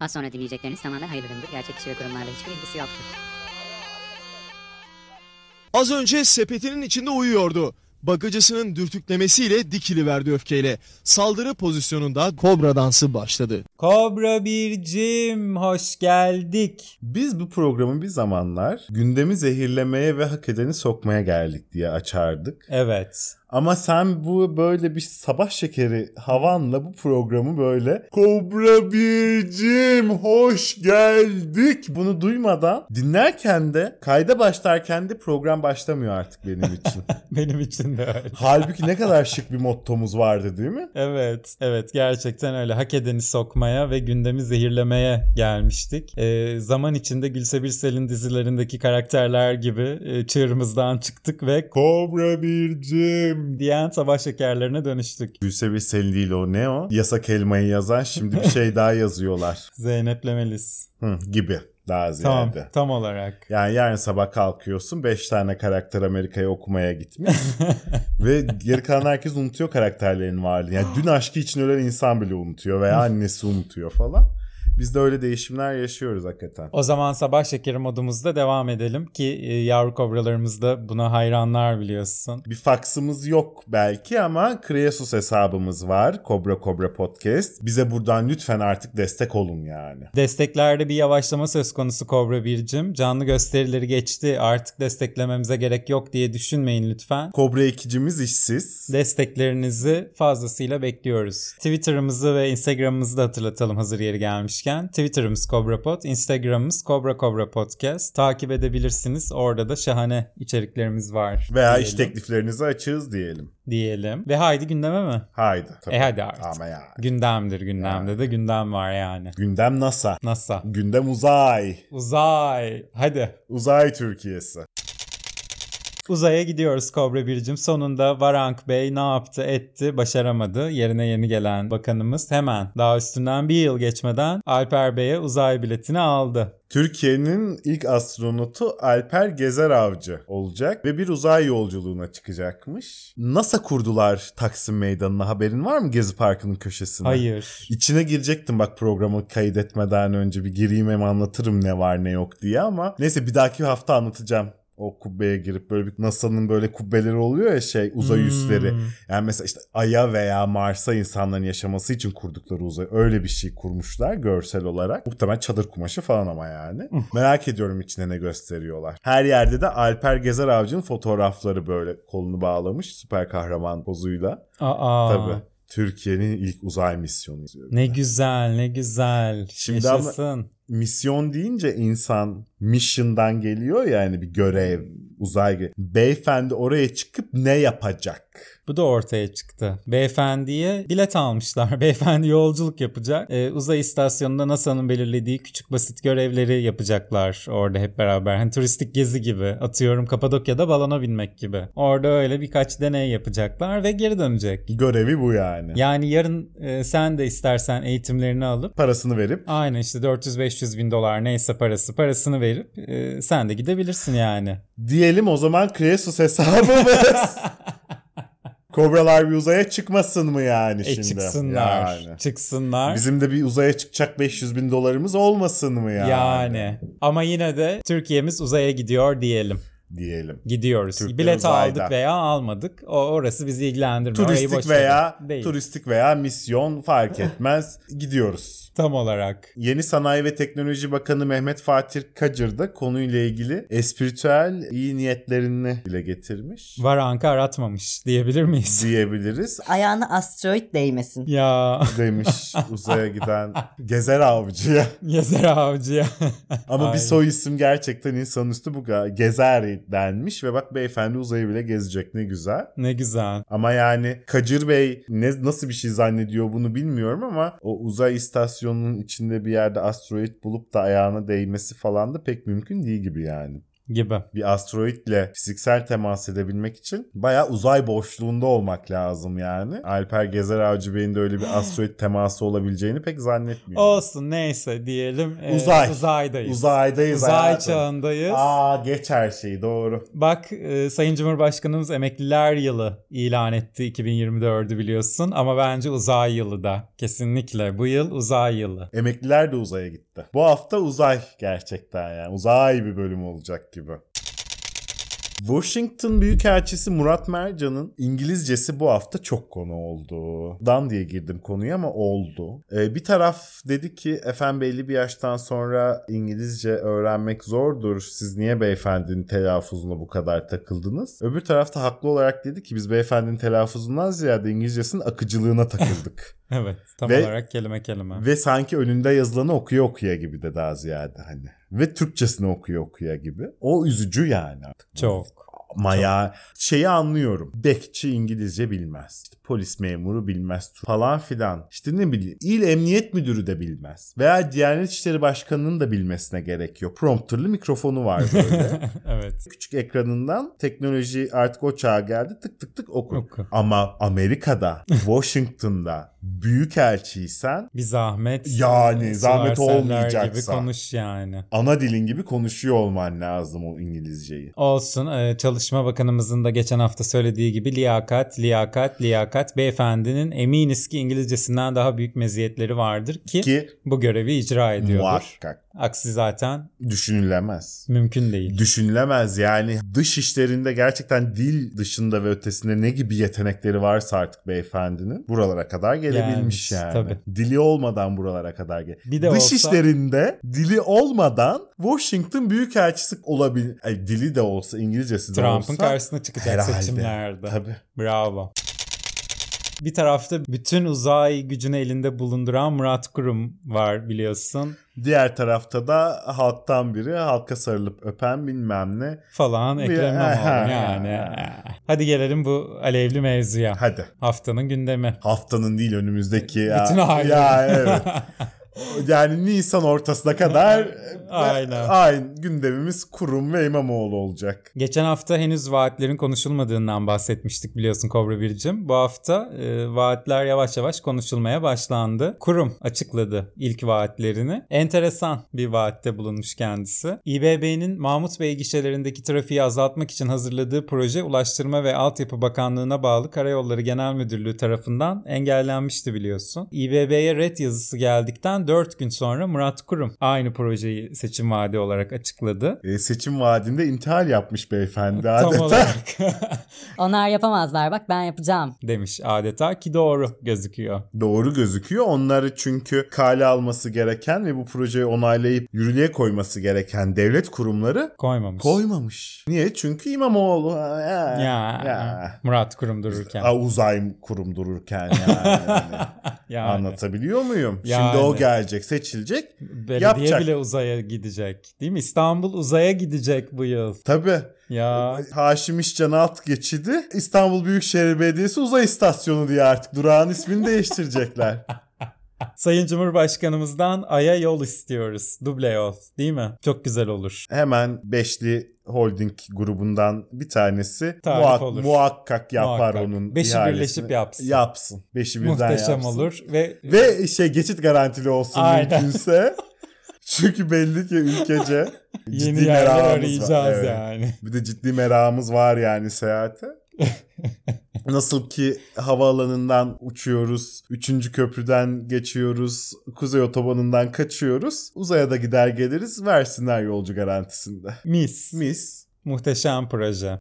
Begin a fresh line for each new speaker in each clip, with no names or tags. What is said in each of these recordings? Az sonra dinleyecekleriniz tamamen hayırlı gündür. Gerçek kişi ve kurumlarla hiçbir ilgisi yoktur.
Az önce sepetinin içinde uyuyordu. Bagacısının dürtüklemesiyle dikili verdi öfkeyle. Saldırı pozisyonunda kobra dansı başladı.
Kobra Bircim hoş geldik.
Biz bu programı bir zamanlar gündemi zehirlemeye ve hak edeni sokmaya geldik diye açardık.
Evet.
Ama sen bu böyle bir sabah şekeri havanla bu programı böyle Kobra Bircim hoş geldik bunu duymadan dinlerken de kayda başlarken de program başlamıyor artık benim için.
Benim için de öyle.
Halbuki ne kadar şık bir mottomuz vardı değil mi?
Evet, evet gerçekten öyle hak edeni sokmaya ve gündemi zehirlemeye gelmiştik. Ee, zaman içinde Gülse Birsel'in dizilerindeki karakterler gibi e, çığırımızdan çıktık ve Kobra Bircim diyen sabah şekerlerine dönüştük.
Gülse Birsel'in değil o ne o? Yasak elmayı yazan şimdi bir şey daha yazıyorlar
Zeynep Lemeliz.
Hı, gibi daha
Tamam,
ziyade.
tam olarak.
Yani yarın sabah kalkıyorsun 5 tane karakter Amerika'ya okumaya gitmiş. ve geri kalan herkes unutuyor karakterlerin varlığını. Yani dün aşkı için ölen insan bile unutuyor veya annesi unutuyor falan. Biz de öyle değişimler yaşıyoruz hakikaten.
O zaman sabah şekeri modumuzda devam edelim ki e, yavru kobralarımız da buna hayranlar biliyorsun.
Bir faksımız yok belki ama Kreasus hesabımız var. Kobra Kobra Podcast. Bize buradan lütfen artık destek olun yani.
Desteklerde bir yavaşlama söz konusu Kobra Bircim. Canlı gösterileri geçti artık desteklememize gerek yok diye düşünmeyin lütfen.
Kobra ekicimiz işsiz.
Desteklerinizi fazlasıyla bekliyoruz. Twitter'ımızı ve Instagram'ımızı da hatırlatalım hazır yeri gelmişken. Twitter'ımız KobraPod, Instagram'ımız Kobra Kobra Podcast. Takip edebilirsiniz. Orada da şahane içeriklerimiz var.
Veya
diyelim,
iş tekliflerinizi açığız diyelim.
Diyelim. Ve haydi gündeme mi?
Haydi.
E hadi artık.
Ama ya.
Gündemdir gündemde de gündem var yani.
Gündem NASA.
NASA.
Gündem uzay.
Uzay. Hadi.
Uzay Türkiye'si.
Uzaya gidiyoruz Kobra Bircim. Sonunda Varank Bey ne yaptı etti başaramadı. Yerine yeni gelen bakanımız hemen daha üstünden bir yıl geçmeden Alper Bey'e uzay biletini aldı.
Türkiye'nin ilk astronotu Alper Gezer Avcı olacak ve bir uzay yolculuğuna çıkacakmış. NASA kurdular Taksim Meydanı'na haberin var mı Gezi Parkı'nın köşesine?
Hayır.
İçine girecektim bak programı kaydetmeden önce bir gireyim hem anlatırım ne var ne yok diye ama neyse bir dahaki hafta anlatacağım. O kubbeye girip böyle bir NASA'nın böyle kubbeleri oluyor ya şey uzay üsleri.
Hmm.
Yani mesela işte Ay'a veya Mars'a insanların yaşaması için kurdukları uzay öyle bir şey kurmuşlar görsel olarak. Muhtemelen çadır kumaşı falan ama yani. Merak ediyorum içine ne gösteriyorlar. Her yerde de Alper Gezer Avcı'nın fotoğrafları böyle kolunu bağlamış süper kahraman pozuyla.
Aa.
Tabii. Türkiye'nin ilk uzay misyonu.
Ne güzel ne güzel.
Şimdi ama-
Yaşasın.
Misyon deyince insan mission'dan geliyor ya yani bir görev, uzay görevi. Beyefendi oraya çıkıp ne yapacak?
Bu da ortaya çıktı. Beyefendiye bilet almışlar. Beyefendi yolculuk yapacak. Ee, uzay istasyonunda NASA'nın belirlediği küçük basit görevleri yapacaklar orada hep beraber. Hani turistik gezi gibi. Atıyorum Kapadokya'da balona binmek gibi. Orada öyle birkaç deney yapacaklar ve geri dönecek.
Görevi bu yani.
Yani yarın e, sen de istersen eğitimlerini alıp
Parasını verip
Aynen işte 400-500 bin dolar neyse parası parasını verip e, sen de gidebilirsin yani.
Diyelim o zaman Kresus hesabımız. Kobralar bir uzaya çıkmasın mı yani
E
şimdi?
çıksınlar.
Yani.
Çıksınlar.
Bizim de bir uzaya çıkacak 500 bin dolarımız olmasın mı yani?
Yani ama yine de Türkiye'miz uzaya gidiyor diyelim.
Diyelim.
Gidiyoruz.
Türkler
Bilet
uzayda.
aldık veya almadık. O orası bizi ilgilendirmiyor. Orayı boş
Turistik
verin.
veya
Değil.
turistik veya misyon fark etmez gidiyoruz.
tam olarak.
Yeni Sanayi ve Teknoloji Bakanı Mehmet Fatih Kacır da konuyla ilgili espritüel iyi niyetlerini dile getirmiş
Varanka aratmamış diyebilir miyiz?
diyebiliriz.
Ayağına asteroid değmesin.
ya
Demiş uzaya giden gezer avcıya.
Yezer Avcı'ya.
Ama
Aynen.
bir soy isim gerçekten insanın üstü bu ga- gezer denmiş ve bak beyefendi uzayı bile gezecek ne güzel.
ne güzel.
Ama yani Kacır Bey ne, nasıl bir şey zannediyor bunu bilmiyorum ama o uzay istasyonunun içinde bir yerde asteroid bulup da ayağına değmesi falan da pek mümkün değil gibi yani.
gibi.
bir asteroidle fiziksel temas edebilmek için bayağı uzay boşluğunda olmak lazım yani. Alper Gezer Avcı Bey'in de öyle bir asteroid teması olabileceğini pek zannetmiyorum.
Olsun neyse diyelim. Ee,
Uzay.
Uzaydayız.
Uzaydayız
Uzay
hayatım.
çağındayız.
Aa geç her şeyi doğru.
Bak e, Sayın Cumhurbaşkanımız emekliler yılı ilan etti 2024'ü biliyorsun ama bence uzay yılı da kesinlikle bu yıl uzay yılı.
Emekliler de uzaya gitti. Bu hafta uzay gerçekten yani. Uzay bir bölüm olacak gibi. Washington Büyükelçisi Murat Mercan'ın İngilizcesi bu hafta çok konu oldu. Dan diye girdim konuya ama oldu. Ee, bir taraf dedi ki efendim belli bir yaştan sonra İngilizce öğrenmek zordur. Siz niye beyefendinin telaffuzuna bu kadar takıldınız? Öbür tarafta haklı olarak dedi ki biz beyefendinin telaffuzundan ziyade İngilizcesinin akıcılığına takıldık.
Evet tam
Ve-
olarak kelime kelime.
Ve sanki önünde yazılanı okuya okuya gibi de daha ziyade hani. Ve Türkçesini okuya okuya gibi. O üzücü yani artık.
Çok.
Ama ya şeyi anlıyorum. Bekçi İngilizce bilmez. İşte polis memuru bilmez falan filan. İşte ne bileyim. İl Emniyet Müdürü de bilmez. Veya Diyanet İşleri Başkanı'nın da bilmesine gerek yok. Prompterlı mikrofonu var böyle.
evet.
Küçük ekranından teknoloji artık o çağa geldi. Tık tık tık oku.
Oku.
Ama Amerika'da, Washington'da büyükelçiysen
Bir zahmet.
Yani zahmet
Sümersenler gibi
olmayacaksa.
konuş yani.
ana dilin gibi konuşuyor olman lazım o İngilizceyi.
Olsun e, Çalışma Bakanımızın da geçen hafta söylediği gibi liyakat, liyakat, liyakat. Beyefendinin eminiz ki İngilizcesinden daha büyük meziyetleri vardır ki,
Ki
bu görevi icra ediyordur.
muhakkak
Aksi zaten
düşünülemez.
mümkün değil.
Düşünülemez yani dış işlerinde gerçekten dil dışında ve ötesinde ne gibi yetenekleri varsa artık beyefendinin buralara kadar gelebilmiş
Gelmiş,
yani.
tabii.
Dili olmadan buralara kadar gel.
Bir de
Dış
olsa-
işlerinde dili olmadan Washington Büyükelçisi olabilir. Ay, dili de olsa İngilizcesi de
Trump'ın
olsa.
karşısına çıkacak
herhalde.
seçimlerde.
Tabii.
Bravo. Bir tarafta bütün uzay gücünü elinde bulunduran Murat Kurum var biliyorsun
Diğer tarafta da halktan biri halka sarılıp öpen bilmem ne.
falan
Bir-
Ekrem İmamoğlu
Aha.
yani. Hadi gelelim bu alevli mevzuya.
Hadi.
Haftanın gündemi.
Haftanın değil önümüzdeki ya.
Bütün aile.
Ya evet. Yani Nisan ortasına kadar
Aynen.
aynı gündemimiz kurum ve İmamoğlu olacak.
Geçen hafta henüz vaatlerin konuşulmadığından bahsetmiştik biliyorsun Kobra Biricim. Bu hafta e, vaatler yavaş yavaş konuşulmaya başlandı. Kurum açıkladı ilk vaatlerini. Enteresan bir vaatte bulunmuş kendisi. İBB'nin Mahmut Bey gişelerindeki trafiği azaltmak için hazırladığı proje Ulaştırma ve Altyapı Bakanlığı'na bağlı Karayolları Genel Müdürlüğü tarafından engellenmişti biliyorsun. İBB'ye red yazısı geldikten 4 gün sonra Murat Kurum aynı projeyi seçim vaadi olarak açıkladı.
E, seçim vaadinde intihar yapmış beyefendi
Tam
adeta.
olarak
Onlar yapamazlar bak ben yapacağım.
demiş adeta ki doğru gözüküyor.
Doğru gözüküyor. Onları çünkü kale alması gereken ve bu projeyi onaylayıp yürürlüğe koyması gereken devlet kurumları
Koymamış.
koymamış. Niye? Çünkü İmamoğlu. Ha,
ya,
ya.
Murat Kurum dururken.
Aa, uzay kurum dururken yani.
yani.
Anlatabiliyor muyum?
Yani.
Şimdi o gelecek, seçilecek.
Belediye
Yapacak.
bile uzaya gidecek. Değil mi? İstanbul uzaya gidecek bu yıl.
Tabii.
Ya
Hani Haşim İşcan alt geçidi İstanbul Büyükşehir Belediyesi Uzay İstasyonu diye artık durağın ismini değiştirecekler.
Sayın Cumhurbaşkanımızdan Ay'a yol istiyoruz. Duble yol. Değil mi? Çok güzel olur.
Hemen Beşli Holding grubundan bir tanesi
Tarif
muhak-
olur.
muhakkak yapar
Muhakkak.
onun
Beşi
ihalesini.
birleşip yapsın.
Yapsın. Beşi birden
Muhteşem
yapsın.
olur ve
Ve şey geçit garantili olsun
Aynen.
mümkünse. Çünkü belli ki ülkece
yeni
ciddi merakımız
yerler
var.
arayacağız
Evet.
yani.
Bir de ciddi merakımız var yani seyahate. Nasıl ki havaalanından uçuyoruz, 3. köprüden geçiyoruz, kuzey otobanından kaçıyoruz. Uzaya da gider geliriz, versinler yolcu garantisinde.
Mis.
Mis.
Muhteşem proje.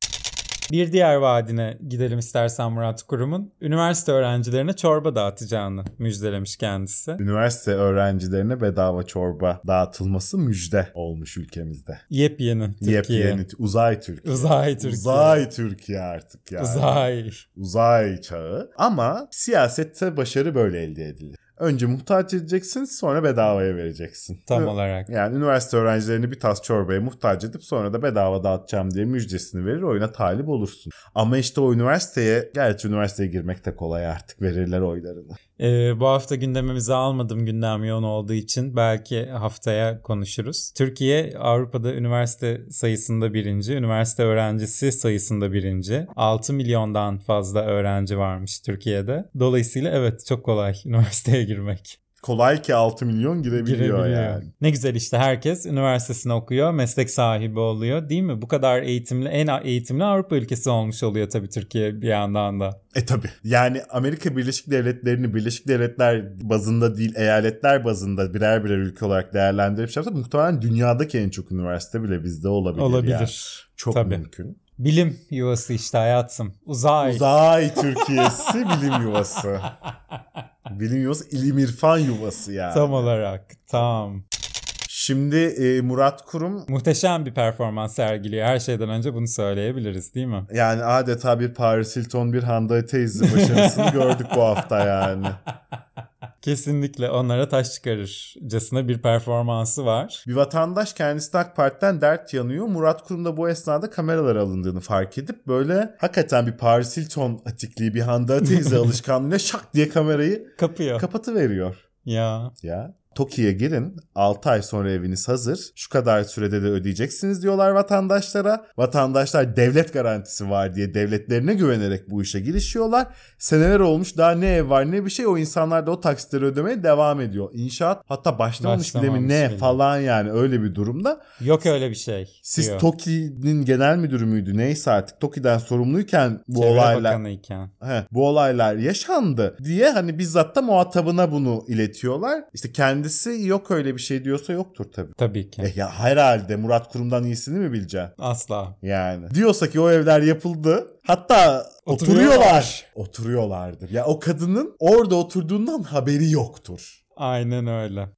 Bir diğer vaadine gidelim istersen Murat Kurum'un. Üniversite öğrencilerine çorba dağıtacağını müjdelemiş kendisi.
Üniversite öğrencilerine bedava çorba dağıtılması müjde olmuş ülkemizde.
Yepyeni Türkiye.
Yepyeni, uzay Türkiye.
Uzay Türkiye.
Uzay Türkiye artık yani.
Uzay.
uzay çağı. Ama siyasette başarı böyle elde edilir. Önce muhtaç edeceksin sonra bedavaya vereceksin.
Tam
Ö-
olarak.
Yani üniversite öğrencilerini bir tas çorbaya muhtaç edip sonra da bedava dağıtacağım diye müjdesini verir oyuna talip olursun. Ama işte o üniversiteye, gerçi üniversiteye girmek de kolay artık verirler oylarını.
Ee, bu hafta gündemimize almadım gündem yoğun olduğu için belki haftaya konuşuruz. Türkiye Avrupa'da üniversite sayısında birinci, üniversite öğrencisi sayısında birinci. 6 milyondan fazla öğrenci varmış Türkiye'de. Dolayısıyla evet çok kolay üniversiteye girmek.
Kolay ki 6 milyon girebiliyor,
Girebiliyor.
yani.
Ne güzel işte herkes üniversitesini okuyor, meslek sahibi oluyor değil mi? Bu kadar eğitimli, en eğitimli Avrupa ülkesi olmuş oluyor tabii Türkiye bir yandan da.
E tabi. Yani Amerika Birleşik Devletleri'ni Birleşik Devletler bazında değil eyaletler bazında birer birer ülke olarak değerlendirip şey yapsak muhtemelen dünyadaki en çok üniversite bile bizde olabilir.
Olabilir.
yani. Çok
Tabii.
mümkün.
Bilim yuvası işte hayatım. Uzay.
Uzay Türkiye'si bilim yuvası. Bilim yuvası, ilim irfan yuvası yani.
Tam olarak. Tam.
Şimdi e, Murat Kurum
Muhteşem bir performans sergiliyor. Her şeyden önce bunu söyleyebiliriz değil mi?
yani adeta bir Paris Hilton bir Hande teyze başarısını gördük bu hafta yani.
Kesinlikle onlara taş çıkarırcasına bir performansı var.
Bir vatandaş kendisine AK Parti'den dert yanıyor. Murat Kurum da bu esnada kameralar alındığını fark edip böyle hakikaten bir Paris Hilton atikliği bir Hande teyze alışkanlığıyla şak diye kamerayı
Kapıyor.
kapatıveriyor.
ya.
ya. Toki'ye girin. 6 ay sonra eviniz hazır. Şu kadar sürede de ödeyeceksiniz diyorlar vatandaşlara. Vatandaşlar devlet garantisi var diye devletlerine güvenerek bu işe girişiyorlar. Seneler olmuş daha ne ev var ne bir şey. O insanlar da o taksitleri ödemeye devam ediyor. İnşaat hatta başlamamış bile mi
Başlamamış
ne
bile.
falan yani öyle bir durumda.
Yok öyle bir şey.
Siz
diyor.
Toki'nin genel müdürü müydü neyse artık Toki'den sorumluyken bu
Çevre
olaylar
Bakanıyken.
He, bu olaylar yaşandı diye hani bizzat da muhatabına bunu iletiyorlar. İşte kendisi yok öyle bir şey diyorsa yoktur tabii.
Tabii ki.
E ya herhalde Murat Kurum'dan iyisini mi bileceksin?
Asla.
Yani. Diyorsa ki o evler yapıldı. Hatta
Oturuyorlar.
oturuyorlar. Oturuyorlardır. Ya o kadının orada oturduğundan haberi yoktur.
Aynen öyle.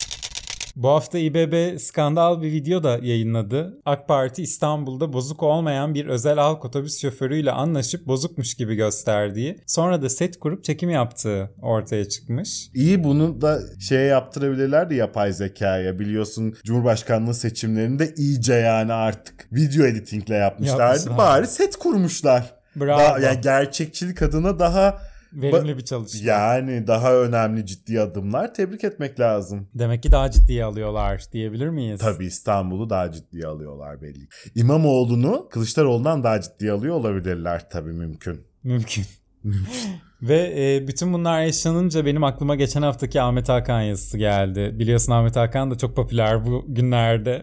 Bu hafta İBB skandal bir video da yayınladı. AK Parti İstanbul'da bozuk olmayan bir özel halk otobüs şoförüyle anlaşıp bozukmuş gibi gösterdiği, sonra da set kurup çekim yaptığı ortaya çıkmış.
İyi bunu da şeye yaptırabilirlerdi yapay zekaya. Biliyorsun Cumhurbaşkanlığı seçimlerinde iyice yani artık video editingle yapmışlardı.
Yapmışlar.
Bari set kurmuşlar.
Bravo.
Daha- yani gerçekçilik adına daha
Verimli bir çalışma.
yani daha önemli ciddi adımlar tebrik etmek lazım.
Demek ki daha ciddiye alıyorlar diyebilir miyiz?
Tabii İstanbul'u daha ciddiye alıyorlar belli. ki. İmamoğlu'nu Kılıçdaroğlu'ndan daha ciddiye alıyor olabilirler tabii mümkün.
Mümkün. Ve e, bütün bunlar yaşanınca benim aklıma geçen haftaki Ahmet Hakan yazısı geldi. Biliyorsun Ahmet Hakan da çok popüler bu günlerde.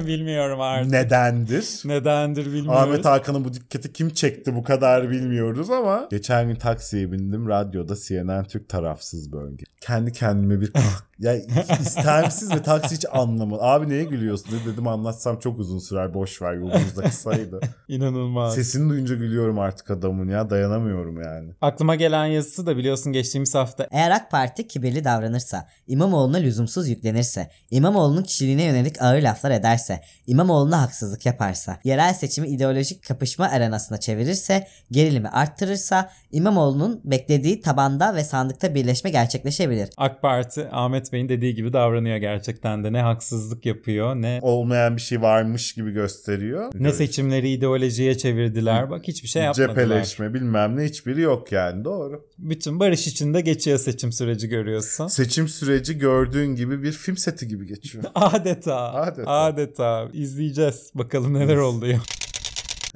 Bilmiyorum artık.
Nedendir?
Nedendir bilmiyoruz.
Ahmet Hakan'ın bu dikkati kim çekti bu kadar bilmiyoruz ama. Geçen gün taksiye bindim radyoda CNN Türk tarafsız bölge. Kendi kendime bir kah- ya istemsiz ve taksi hiç anlamadı. Abi neye gülüyorsun dedi. dedim anlatsam çok uzun sürer boş ver yolumuz da kısaydı.
İnanılmaz.
Sesini duyunca gülüyorum artık adamın ya dayanamıyorum yani.
Aklıma gelen yazısı da biliyorsun geçtiğimiz hafta
Eğer AK Parti kibirli davranırsa, İmamoğlu'na lüzumsuz yüklenirse, İmamoğlu'nun kişiliğine yönelik ağır laflar ederse, İmamoğlu'na haksızlık yaparsa, yerel seçimi ideolojik kapışma arenasına çevirirse, gerilimi arttırırsa, İmamoğlu'nun beklediği tabanda ve sandıkta birleşme gerçekleşebilir.
AK Parti Ahmet Bey'in dediği gibi davranıyor gerçekten de. Ne haksızlık yapıyor ne
Olmayan bir şey varmış gibi gösteriyor.
ne seçimleri ideolojiye çevirdiler. Bak hiçbir şey yapmadılar.
Cepheleşme bilmem ne hiçbiri yok yani doğru.
Bütün barış içinde geçiyor seçim süreci görüyorsun.
Seçim süreci gördüğün gibi bir film seti gibi geçiyor.
Adeta.
Adeta.
Adeta. İzleyeceğiz bakalım neler oluyor.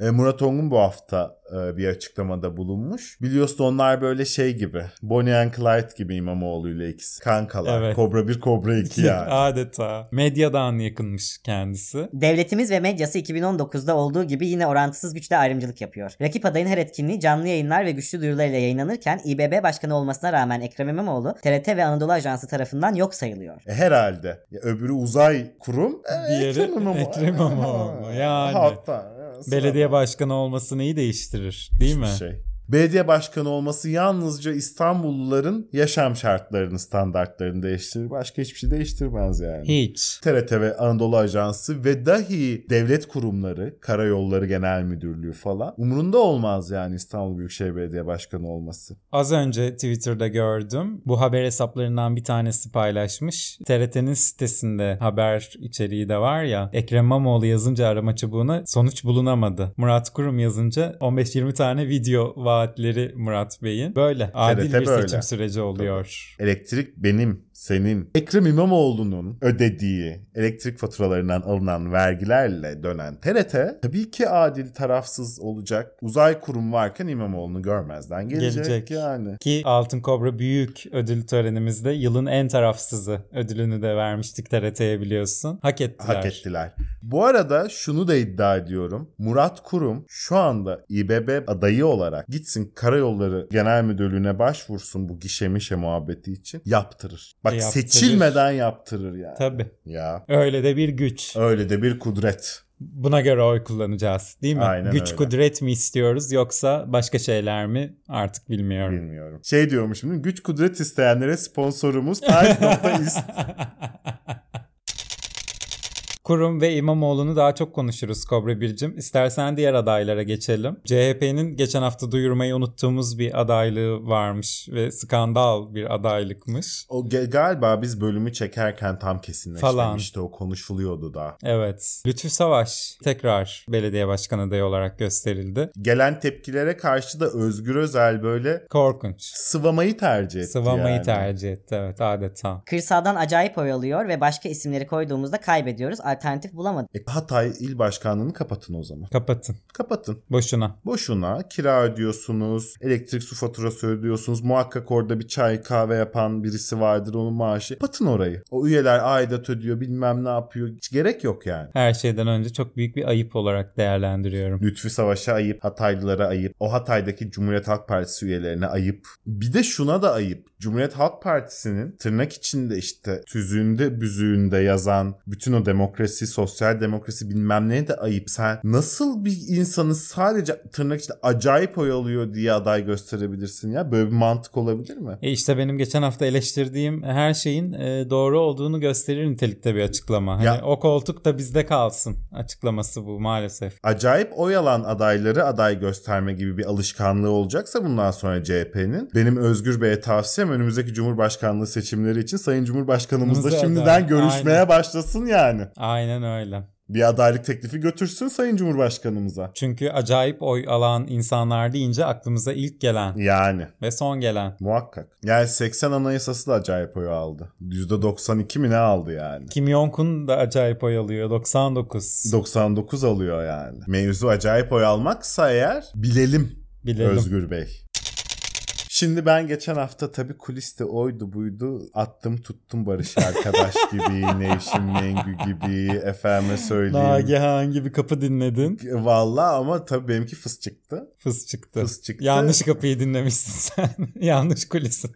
E, Murat Ongun bu hafta e, bir açıklamada bulunmuş. Biliyorsun onlar böyle şey gibi. Bonnie and Clyde gibi İmamoğlu ile ikisi. Kankalar.
Evet.
Kobra 1, Kobra 2 yani.
Adeta. Medyadan yakınmış kendisi.
Devletimiz ve medyası 2019'da olduğu gibi yine orantısız güçte ayrımcılık yapıyor. Rakip adayın her etkinliği canlı yayınlar ve güçlü duyurularıyla yayınlanırken İBB Başkanı olmasına rağmen Ekrem İmamoğlu TRT ve Anadolu Ajansı tarafından yok sayılıyor.
E, herhalde. Ya, öbürü uzay kurum. E,
Diğeri Ekrem İmamoğlu. Yani.
Hatta. e, sıra-
Belediye başkanı olması neyi değiştirir değil mi?
Şey. Belediye başkanı olması yalnızca İstanbulluların yaşam şartlarını, standartlarını değiştirir. Başka hiçbir şey değiştirmez yani.
Hiç.
TRT ve Anadolu Ajansı ve dahi devlet kurumları, Karayolları Genel Müdürlüğü falan umurunda olmaz yani İstanbul Büyükşehir Belediye Başkanı olması.
Az önce Twitter'da gördüm. Bu haber hesaplarından bir tanesi paylaşmış. TRT'nin sitesinde haber içeriği de var ya. Ekrem İmamoğlu yazınca arama çubuğuna sonuç bulunamadı. Murat Kurum yazınca 15-20 tane video vaatleri Murat Bey'in. Böyle adil
TRT
bir
böyle.
seçim süreci oluyor.
Elektrik benim, senin. Ekrem İmamoğlu'nun ödediği elektrik faturalarından alınan vergilerle dönen TRT tabii ki adil, tarafsız olacak. Uzay kurum varken İmamoğlu'nu görmezden gelecek,
Gelecek.
yani.
Ki Altın Kobra büyük ödül törenimizde yılın en tarafsızı ödülünü de vermiştik TRT'ye biliyorsun. Hak ettiler.
Hak ettiler. Bu arada şunu da iddia ediyorum. Murat Kurum şu anda İBB adayı olarak gitsin Karayolları Genel Müdürlüğü'ne başvursun bu gişe mişe muhabbeti için yaptırır. Bak
E, yaptırır.
seçilmeden yaptırır yani.
Tabii.
Ya
Öyle de bir güç.
öyle de bir kudret.
Buna göre oy kullanacağız değil mi?
Aynen
güç
öyle.
kudret mi istiyoruz yoksa başka şeyler mi artık bilmiyorum.
Bilmiyorum. Şey diyormuşum değil mi? Güç kudret isteyenlere sponsorumuz Times.is.
Kurum ve İmamoğlu'nu daha çok konuşuruz Kobra Bircim. İstersen diğer adaylara geçelim. CHP'nin geçen hafta duyurmayı unuttuğumuz bir adaylığı varmış ve skandal bir adaylıkmış.
o ge- galiba biz bölümü çekerken tam
Falan.
kesinleşmemişti. O konuşuluyordu da.
Evet. Lütfü Savaş tekrar belediye başkan adayı olarak gösterildi.
Gelen tepkilere karşı da Özgür Özel böyle
Korkunç.
sıvamayı tercih etti
Sıvamayı
yani.
tercih etti evet adeta.
Kırsaldan acayip oy alıyor ve başka isimleri koyduğumuzda kaybediyoruz. Alternatif bulamadık.
E, Hatay İl Başkanlığı'nı kapatın o zaman.
Kapatın.
Kapatın.
Boşuna.
Boşuna kira ödüyorsunuz, elektrik su faturası ödüyorsunuz. Muhakkak orada bir çay kahve yapan birisi vardır onun maaşı. Patın orayı. O üyeler aidat ödüyor bilmem ne yapıyor. Hiç gerek yok yani.
Her şeyden önce çok büyük bir ayıp olarak değerlendiriyorum.
Lütfü Savaş'a ayıp, Hataylılara ayıp, o Hatay'daki Cumhuriyet Halk Partisi üyelerine ayıp. Bir de şuna da ayıp. Cumhuriyet Halk Partisi'nin tırnak içinde işte tüzüğünde büzüğünde yazan bütün o demokrasi, sosyal demokrasi bilmem neye de ayıp. Sen nasıl bir insanı sadece tırnak içinde acayip oy alıyor diye aday gösterebilirsin ya? Böyle bir mantık olabilir mi?
E işte benim geçen hafta eleştirdiğim her şeyin e, doğru olduğunu gösterir nitelikte bir açıklama. Hani
Ya-
o koltuk da bizde kalsın açıklaması bu maalesef.
acayip oy alan adayları aday gösterme gibi bir alışkanlığı olacaksa bundan sonra CHP'nin benim Özgür Bey'e tavsiyem önümüzdeki Cumhurbaşkanlığı seçimleri için Sayın Cumhurbaşkanımız da
Aday,
şimdiden görüşmeye
aynen.
başlasın yani.
Aynen öyle.
Bir adaylık teklifi götürsün Sayın Cumhurbaşkanımıza.
Çünkü acayip oy alan insanlar deyince aklımıza ilk gelen
Yani
ve son gelen.
muhakkak. Yani 80 anayasası da acayip oy aldı. %92 mi ne aldı yani?
Kim Jong-un da acayip oy alıyor 99.
99 alıyor yani. Mevzu acayip oy almaksa eğer bilelim
Bilelim.
Özgür Bey. Şimdi ben geçen hafta tabii kuliste oydu buydu attım tuttum Barış arkadaş gibi, Nevşin Mengü gibi, efendime söyleyeyim.
Nagihan gibi kapı dinledin.
Valla ama tabii benimki fıs çıktı.
Fıs çıktı.
Fıs çıktı.
Yanlış kapıyı dinlemişsin sen. Yanlış kulisi.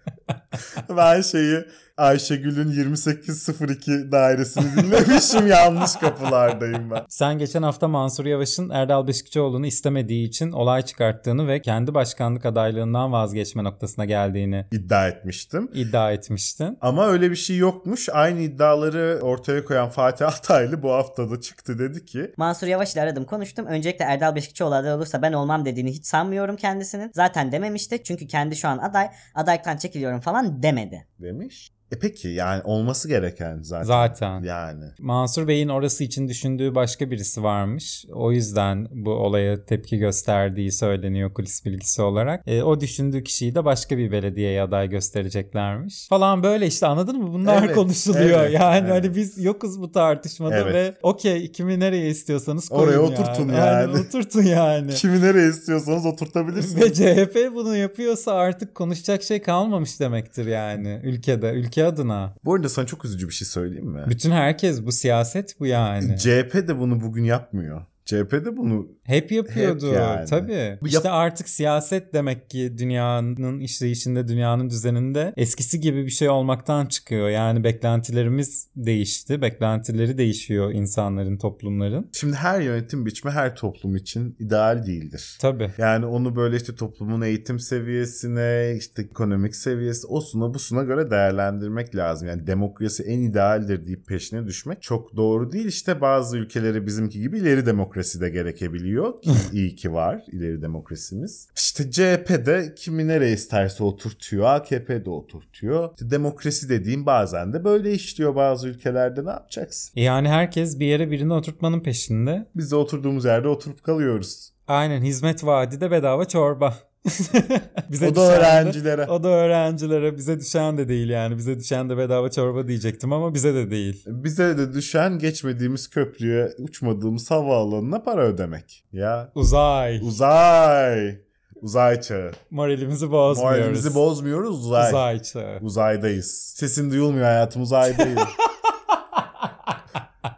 Ben şeyi Ayşegül'ün 2802 dairesini dinlemişim yanlış kapılardayım ben.
Sen geçen hafta Mansur Yavaş'ın Erdal Beşikçioğlu'nu istemediği için olay çıkarttığını ve kendi başkanlık adaylığından vazgeçme noktasına geldiğini
İddia etmiştim.
iddia etmiştin.
Ama öyle bir şey yokmuş. Aynı iddiaları ortaya koyan Fatih Altaylı bu haftada çıktı dedi ki
Mansur Yavaş ile aradım konuştum. Öncelikle Erdal Beşikçioğlu aday olursa ben olmam dediğini hiç sanmıyorum kendisinin. Zaten dememişti çünkü kendi şu an aday. Adaylıktan çekiliyorum falan demedi.
demiş. E peki yani olması gereken zaten.
Zaten.
Yani.
Mansur Bey'in orası için düşündüğü başka birisi varmış. O yüzden bu olaya tepki gösterdiği söyleniyor kulis bilgisi olarak. E, o düşündüğü kişiyi de başka bir belediyeye aday göstereceklermiş. Falan böyle işte anladın mı? Bunlar
Evet,
konuşuluyor.
evet,
yani
evet.
hani biz yokuz bu tartışmada
Evet.
ve okey kimi nereye istiyorsanız koyun
Oraya
yani.
oturtun
Aynen,
yani.
oturtun yani.
Kimi nereye istiyorsanız oturtabilirsiniz.
Ve CHP bunu yapıyorsa artık konuşacak şey kalmamış demektir yani ülkede, ülke adına.
Bu arada sana çok üzücü bir şey söyleyeyim mi?
Bütün herkes bu siyaset bu yani.
CHP de bunu bugün yapmıyor. CHP de bunu
Hep yapıyordu
Hep yani.
tabii.
Bu
İşte artık siyaset demek ki dünyanın işleyişinde, dünyanın düzeninde eskisi gibi bir şey olmaktan çıkıyor. Yani beklentilerimiz değişti. Beklentileri değişiyor insanların, toplumların.
şimdi her yönetim biçimi her toplum için ideal değildir.
Tabii.
Yani onu böyle işte toplumun eğitim seviyesine, işte ekonomik seviyesi o suna bu suna göre değerlendirmek lazım. Yani demokrasi en idealdir deyip peşine düşmek çok doğru değil. İşte bazı ülkeleri bizimki gibi ileri demokrasi de gerekebiliyor. Ki iyi ki var ileri demokrasimiz. İşte CHP'de kimi nereye isterse oturtuyor, AKP'de oturtuyor. İşte demokrasi dediğim bazen de böyle işliyor bazı ülkelerde ne yapacaksın?
Yani herkes bir yere birini oturtmanın peşinde.
Biz de oturduğumuz yerde oturup kalıyoruz.
Aynen hizmet vaadi de bedava çorba. Bize
O
düşen
da
de-
öğrencilere.
O da öğrencilere bize düşen de değil yani. Bize düşen de bedava çorba diyecektim ama bize de değil.
Bize de düşen geçmediğimiz köprüye, uçmadığımız havaalanına para ödemek. Ya
Uzay.
uzay. Uzay çağı.
Moralimizi bozmuyoruz.
Moralimizi bozmuyoruz uzay.
Uzay çağı.
Uzaydayız. Sesin duyulmuyor hayatım uzaydayız.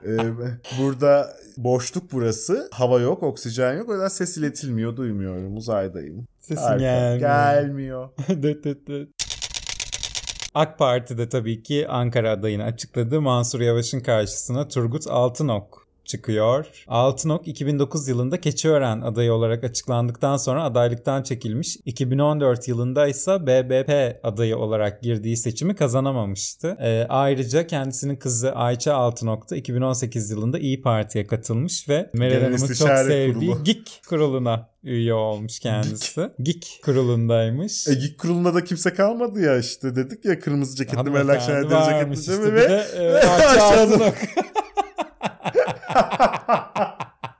Ee, burada boşluk burası. Hava yok, oksijen yok. O yüzden ses iletilmiyor, duymuyorum. Uzaydayım.
Sesin
Harika.
gelmiyor.
Gelmiyor.
Dıt dıt dıt. AK Parti de tabii ki Ankara adayını açıkladı. Mansur Yavaş'ın karşısına Turgut Altınok çıkıyor. Altınok 2009 yılında Keçiören adayı olarak açıklandıktan sonra adaylıktan çekilmiş. 2014 yılında ise BBP adayı olarak girdiği seçimi kazanamamıştı. Ee, ayrıca kendisinin kızı Ayça Altınok da 2018 yılında İyi Parti'ye katılmış ve Meral
Genel
Hanım'ın çok
İstişare
sevdiği
Kurulu.
GİK kuruluna üye olmuş kendisi. GİK kurulundaymış.
E, ilk kurulunda da kimse kalmadı ya işte dedik ya kırmızı ceketli
Hanımefendi
Meral Akşener deri
varmış
ceketli değil
işte. Bir
mi? Ve-
de, e,
ve
Ayça
aşağıda-
Altınok.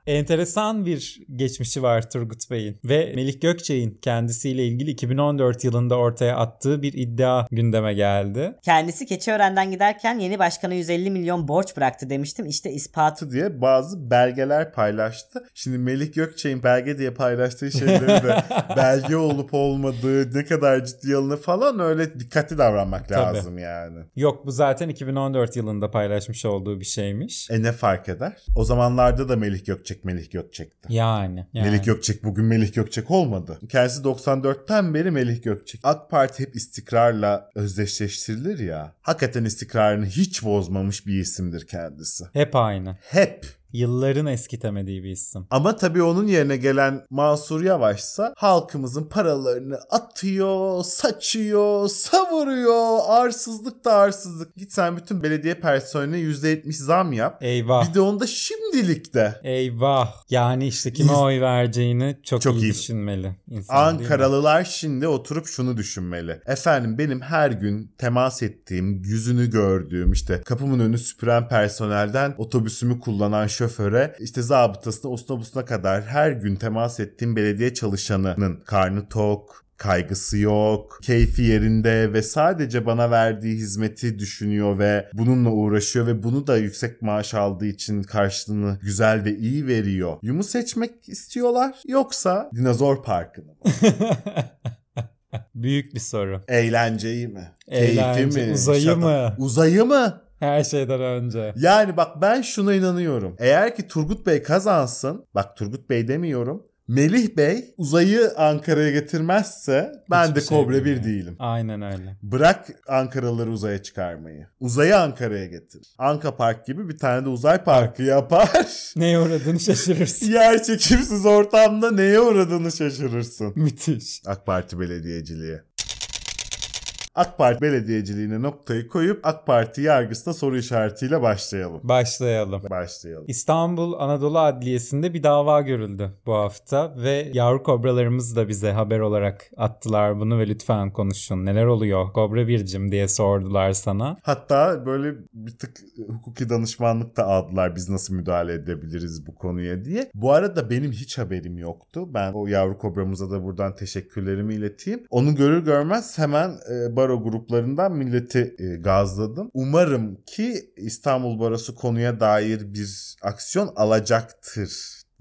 Enteresan bir geçmişi var Turgut Bey'in ve Melih Gökçe'nin kendisiyle ilgili 2014 yılında ortaya attığı bir iddia gündeme geldi.
Kendisi Keçiören'den giderken yeni başkana 150 milyon borç bıraktı demiştim. İşte ispatı.
yaptı diye bazı belgeler paylaştı. Şimdi Melih Gökçek'in belge diye paylaştığı şeyleri de belge olup olmadığı, ne kadar ciddi alını falan öyle dikkatli davranmak
Tabii.
lazım yani.
Yok bu zaten 2014 yılında paylaşmış olduğu bir şeymiş.
E ne fark eder? O zamanlarda da Melih Gökçek Melih Gökçek'ti.
Yani. yani.
Melih Gökçek bugün Melih Gökçek olmadı. Kendisi 94'ten beri Melih Gökçek. AK Parti hep istikrarla özdeşleştirilir ya. Hakikaten istikrarını hiç bozmamış bir isimdir kendisi.
Hep aynı.
Hep
Yılların eskitemediği bir isim.
Ama tabii onun yerine gelen Mansur Yavaş'sa halkımızın paralarını atıyor, saçıyor, savuruyor. Arsızlık da arsızlık. Git sen bütün belediye personeline %70 zam yap.
Eyvah.
Bir de onu da şimdilik de.
Eyvah. Yani işte kime
İz-
oy vereceğini çok,
Çok
iyi,
iyi.
düşünmeli. insan, değil mi?
Ankaralılar şimdi oturup şunu düşünmeli. Efendim benim her gün temas ettiğim, yüzünü gördüğüm işte kapımın önü süpüren personelden otobüsümü kullanan şoföre işte zabıtasına usuna busuna kadar her gün temas ettiğim belediye çalışanının karnı tok, kaygısı yok, keyfi yerinde ve sadece bana verdiği hizmeti düşünüyor ve bununla uğraşıyor ve bunu da yüksek maaş aldığı için karşılığını güzel ve iyi veriyor. Yumu seçmek istiyorlar yoksa dinozor parkını mı?
Büyük bir soru.
Eğlenceyi mi?
Eğlence,
Keyfi mi?
uzayı
Şaka-
mı?
Uzayı mı?
Her şeyden önce.
Yani bak ben şuna inanıyorum. Eğer ki Turgut Bey kazansın, bak Turgut Bey demiyorum. Melih Bey uzayı Ankara'ya getirmezse ben
Hiçbir
de
şey
Kobra
bilmiyor.
1 değilim.
Aynen öyle.
Bırak Ankaralıları uzaya çıkarmayı. Uzayı Ankara'ya getir. Anka Park gibi bir tane de uzay parkı yapar.
Neye uğradığını şaşırırsın.
Yer çekimsiz ortamda neye uğradığını şaşırırsın.
Müthiş.
AK Parti belediyeciliği. AK Parti belediyeciliğine noktayı koyup AK Parti yargısına soru işaretiyle başlayalım.
Başlayalım.
Başlayalım.
İstanbul Anadolu Adliyesi'nde bir dava görüldü bu hafta ve yavru kobralarımız da bize haber olarak attılar bunu ve lütfen konuşun. Neler oluyor kobra bircim diye sordular sana.
Hatta böyle bir tık e, hukuki danışmanlık da aldılar biz nasıl müdahale edebiliriz bu konuya diye. Bu arada benim hiç haberim yoktu. Ben o yavru kobramıza da buradan teşekkürlerimi ileteyim. Onu görür görmez hemen e, baro gruplarından milleti e, gazladım. Umarım ki İstanbul Barosu konuya dair bir aksiyon alacaktır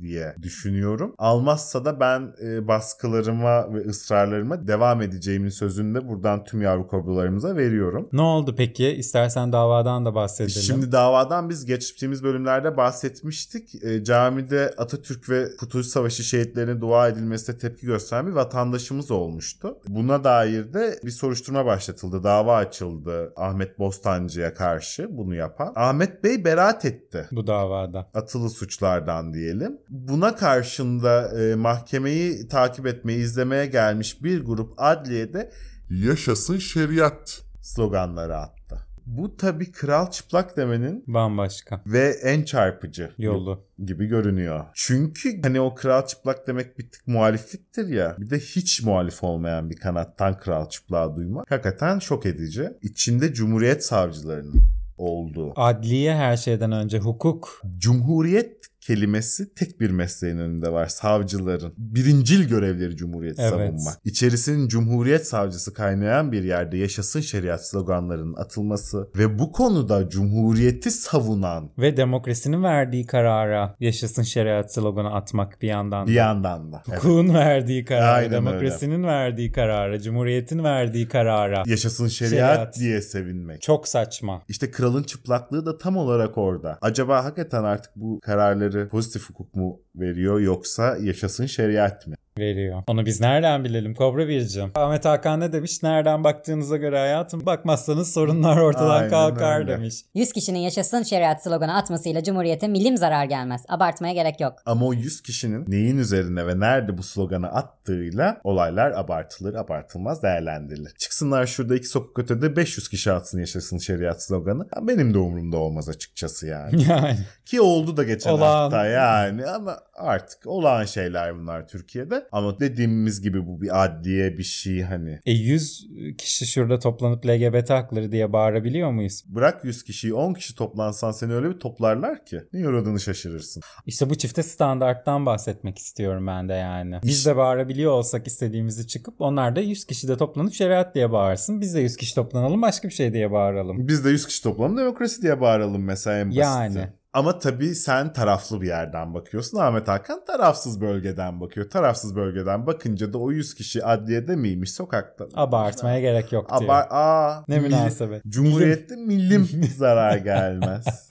diye düşünüyorum. Almazsa da ben e, baskılarıma ve ısrarlarıma devam edeceğimin sözünü de buradan tüm yavru kobralarımıza veriyorum.
Ne oldu peki? İstersen davadan da bahsedelim.
Şimdi davadan biz geçtiğimiz bölümlerde bahsetmiştik. E, camide Atatürk ve Kurtuluş Savaşı şehitlerine dua edilmesine tepki gösteren bir vatandaşımız olmuştu. Buna dair de bir soruşturma başlatıldı. Dava açıldı Ahmet Bostancı'ya karşı bunu yapan. Ahmet Bey beraat etti
bu davada.
atılı suçlardan diyelim. Buna karşında e, mahkemeyi takip etmeyi izlemeye gelmiş bir grup adliyede
Yaşasın şeriat.
sloganları attı. Bu tabi kral çıplak demenin
Bambaşka
ve en çarpıcı
yolu.
gibi görünüyor. Çünkü hani o kral çıplak demek bir tık muhalifliktir ya. Bir de hiç muhalif olmayan bir kanattan kral çıplağı duymak hakikaten şok edici. İçinde cumhuriyet savcılarının olduğu.
Adliye her şeyden önce hukuk.
Cumhuriyet kelimesi tek bir mesleğin önünde var. Savcıların. Birincil görevleri cumhuriyet
Evet.
savunmak. İçerisinin cumhuriyet savcısı kaynayan bir yerde yaşasın şeriat sloganlarının atılması ve bu konuda cumhuriyeti savunan
Ve demokrasinin verdiği karara yaşasın şeriat sloganı atmak bir yandan. da.
bir yandan da. Evet.
Hukukun verdiği karara,
Aynen öyle.
demokrasinin verdiği karara, cumhuriyetin verdiği karara.
Yaşasın şeriat,
Şeriat.
diye sevinmek.
Çok saçma.
İşte kralın çıplaklığı da tam olarak orada. Acaba hakikaten artık bu kararları pozitif hukuk mu veriyor yoksa yaşasın şeriat mi?
veriyor. Onu biz nereden bilelim Kobra Bircim? Ahmet Hakan ne demiş? Nereden baktığınıza göre hayatım bakmazsanız sorunlar ortadan
Aynen
kalkar
öyle.
demiş.
100 kişinin yaşasın şeriat sloganı atmasıyla Cumhuriyete milim zarar gelmez. Abartmaya gerek yok.
Ama o 100 kişinin neyin üzerine ve nerede bu sloganı attığıyla olaylar abartılır abartılmaz değerlendirilir. Çıksınlar şurada iki sokak ötede 500 kişi atsın yaşasın şeriat sloganı. Ya Benim de umurumda olmaz açıkçası yani.
Yani
Ki oldu da geçen
Olağan.
hafta yani ama artık olağan şeyler bunlar Türkiye'de. Ama dediğimiz gibi bu bir adliye bir şey hani.
e 100 kişi şurada toplanıp LGBT hakları diye bağırabiliyor muyuz?
Bırak 100 kişiyi 10 kişi toplansan seni öyle bir toplarlar ki. Ne uğradığını şaşırırsın.
İşte bu çifte standarttan bahsetmek istiyorum ben de yani. Biz de bağırabiliyor olsak istediğimizi çıkıp onlar da 100 kişi de toplanıp şeriat diye bağırsın. Biz de 100 kişi toplanalım başka bir şey diye bağıralım.
Biz de 100 kişi toplanıp demokrasi diye bağıralım mesela en basiti.
Yani.
Ama tabii sen taraflı bir yerden bakıyorsun. Ahmet Hakan tarafsız bölgeden bakıyor. Tarafsız bölgeden bakınca da o 100 kişi adliyede miymiş sokakta? mı?
Abartmaya gerek yok diyor.
Abar Aa,
ne
milli-
münasebet.
Cumhuriyette millim zarar gelmez.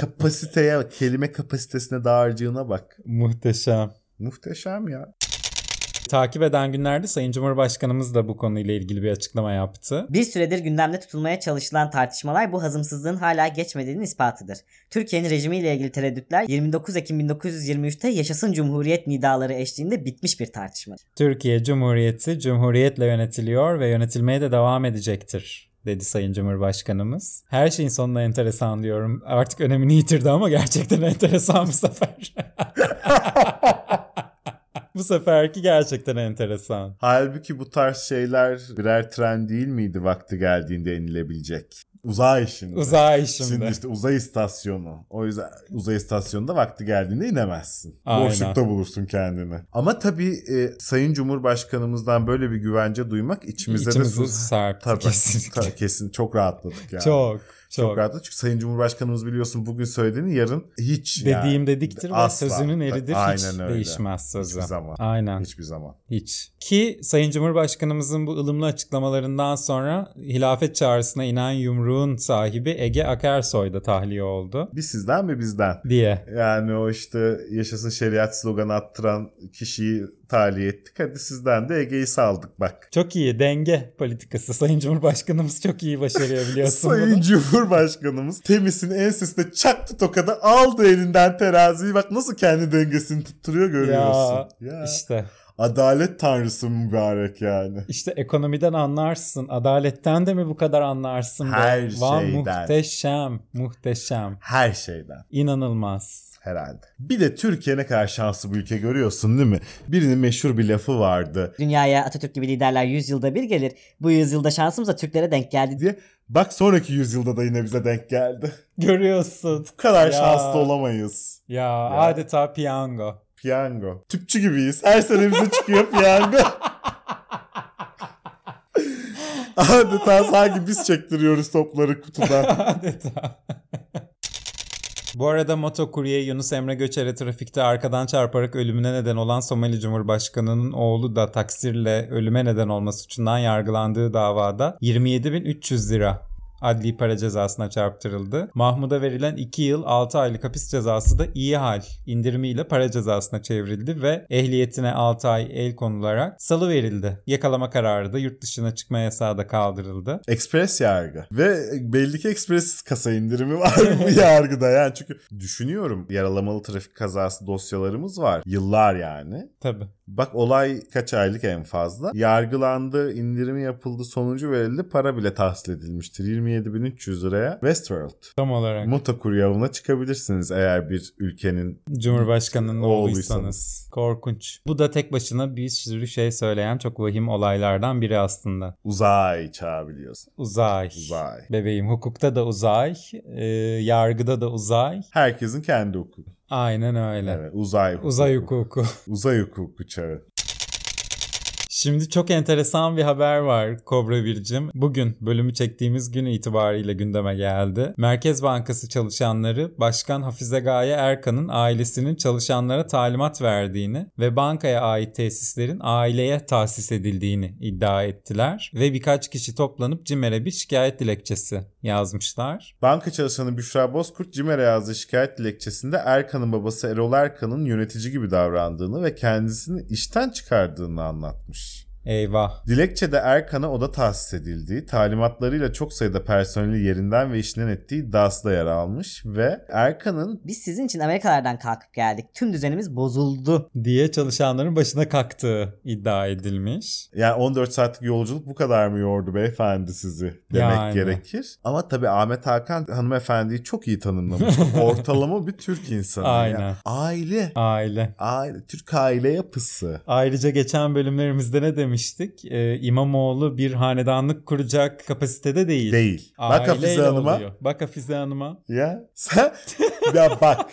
Kapasiteye, bak, kelime kapasitesine dağarcığına bak.
Muhteşem.
Muhteşem ya.
Takip eden günlerde Sayın Cumhurbaşkanımız da bu konuyla ilgili bir açıklama yaptı.
Bir süredir gündemde tutulmaya çalışılan tartışmalar bu hazımsızlığın hala geçmediğinin ispatıdır. Türkiye'nin rejimiyle ilgili tereddütler 29 Ekim 1923'te Yaşasın Cumhuriyet nidaları eşliğinde bitmiş bir tartışma.
Türkiye Cumhuriyeti cumhuriyetle yönetiliyor ve yönetilmeye de devam edecektir dedi Sayın Cumhurbaşkanımız. Her şeyin sonuna enteresan diyorum. Artık önemini yitirdi ama gerçekten enteresan bu sefer. bu seferki gerçekten enteresan.
Halbuki bu tarz şeyler birer tren değil miydi vakti geldiğinde inilebilecek? Uzay şimdi.
Uzay şimdi.
Şimdi işte uzay istasyonu. O yüzden uzay istasyonunda vakti geldiğinde inemezsin.
Aynen.
Boşlukta bulursun kendini. Ama tabii e, Sayın Cumhurbaşkanımızdan böyle bir güvence duymak içimize de
İçimizi
su...
sarptı
Tabii,
kesinlikle.
tabii, kesin. Çok rahatladık yani.
Çok,
Çok,
çok.
rahatladık. Çünkü Sayın Cumhurbaşkanımız biliyorsun bugün söylediğini yarın hiç yani.
Dediğim dediktir ve
Asla.
sözünün eridir. hiç
Aynen öyle.
değişmez sözü.
Hiçbir zaman.
Aynen.
Hiçbir zaman.
Hiç. Ki Sayın Cumhurbaşkanımızın bu ılımlı açıklamalarından sonra hilafet çağrısına inen yumruğun sahibi Ege Akersoy da tahliye oldu
Bir sizden mi bizden?
diye.
Yani o işte yaşasın şeriat sloganı attıran kişiyi tahliye ettik. Hadi sizden de Ege'yi saldık bak.
Çok iyi denge politikası. Sayın Cumhurbaşkanımız çok iyi başarıyor biliyorsun
Sayın
bunu.
Cumhurbaşkanımız Temis'in ensesine çaktı tokada aldı elinden teraziyi bak nasıl kendi dengesini tutturuyor görüyorsun. Ya,
İşte
Adalet tanrısı mübarek yani.
işte ekonomiden anlarsın, adaletten de mi bu kadar anlarsın? be?
Her
Vay,
şeyden.
muhteşem, muhteşem.
Her şeyden.
İnanılmaz.
herhalde. Bir de Türkiye ne kadar şanslı bir ülke görüyorsun değil mi? Birinin meşhur bir lafı vardı
Dünyaya Atatürk gibi liderler 100 yılda bir gelir. Bu yüzyılda şansımız da Türklere denk geldi.
diye. Bak sonraki yüzyılda da yine bize denk geldi.
Görüyorsun.
Bu kadar
Ya.
şanslı olamayız.
Ya, adeta piyango.
Piyango. Tüpçü gibiyiz. Her sene bize çıkıyor piyango. Adeta sanki biz çektiriyoruz topları kutudan.
adeta. Bu arada motokurye Yunus Emre Göçer'e trafikte arkadan çarparak ölümüne neden olan Somali Cumhurbaşkanı'nın oğlu da taksirle ölüme neden olma suçundan yargılandığı davada 27.300 lira adli para cezasına çarptırıldı. Mahmud'a verilen 2 yıl 6 aylık hapis cezası da iyi hal indirimiyle para cezasına çevrildi ve ehliyetine 6 ay el konularak salı verildi. Yakalama kararı da yurt dışına çıkma yasağı da kaldırıldı.
Ekspres yargı. Ve belli ki ekspres kasa indirimi var bu yargıda yani. Çünkü düşünüyorum yaralamalı trafik kazası dosyalarımız var. Yıllar yani.
Tabii.
Bak olay kaç aylık en fazla. Yargılandı, indirimi yapıldı, sonucu verildi. Para bile tahsil edilmiştir. 27.300 liraya Westworld.
Tam olarak
Motokurye avına çıkabilirsiniz eğer bir ülkenin
Cumhurbaşkanının
Oğluysanız.
oğluysanız. Korkunç. Bu da tek başına bir sürü şey söyleyen çok vahim olaylardan biri aslında.
uzay çağı biliyorsun.
Uzay.
Uzay.
Bebeğim hukukta da uzay, e, yargıda da uzay.
Herkesin kendi hukuku.
Aynen öyle.
Evet, uzay hukuku.
Uzay hukuku.
Uzay hukuku çağı.
Şimdi çok enteresan bir haber var Kobra Bircim. Bugün bölümü çektiğimiz gün itibariyle gündeme geldi. Merkez Bankası çalışanları Başkan Hafize Gaye Erkan'ın ailesinin çalışanlara talimat verdiğini ve bankaya ait tesislerin aileye tahsis edildiğini iddia ettiler. Ve birkaç kişi toplanıp CİMER'e bir şikayet dilekçesi yazmışlar.
Banka çalışanı Büşra Bozkurt CİMER'e yazdığı şikayet dilekçesinde Erkan'ın babası Erol Erkan'ın yönetici gibi davrandığını ve kendisini işten çıkardığını anlatmış.
Eyvah.
Dilekçede Erkan'a oda tahsis edildiği, talimatlarıyla çok sayıda personeli yerinden ve işinden ettiği iddiası da yer almış ve Erkan'ın
Biz sizin için Amerikalardan kalkıp geldik. Tüm düzenimiz bozuldu.
diye çalışanların başına kalktığı iddia edilmiş.
yani 14 saatlik yolculuk bu kadar mı yordu beyefendi sizi demek
Yani.
gerekir. Ama tabii Ahmet Hakan hanımefendiyi çok iyi tanımlamış. Ortalama bir Türk insanı. ya.
Aynen.
Aile.
Aile.
Aile. Türk aile yapısı.
Ayrıca geçen bölümlerimizde ne demiştik? Ee, İmamoğlu bir hanedanlık kuracak kapasitede değil.
Değil. Bak
Aileyle
Hafize Hanım'a.
oluyor. Bak Hafize Hanım'a.
Ya sen ya bak.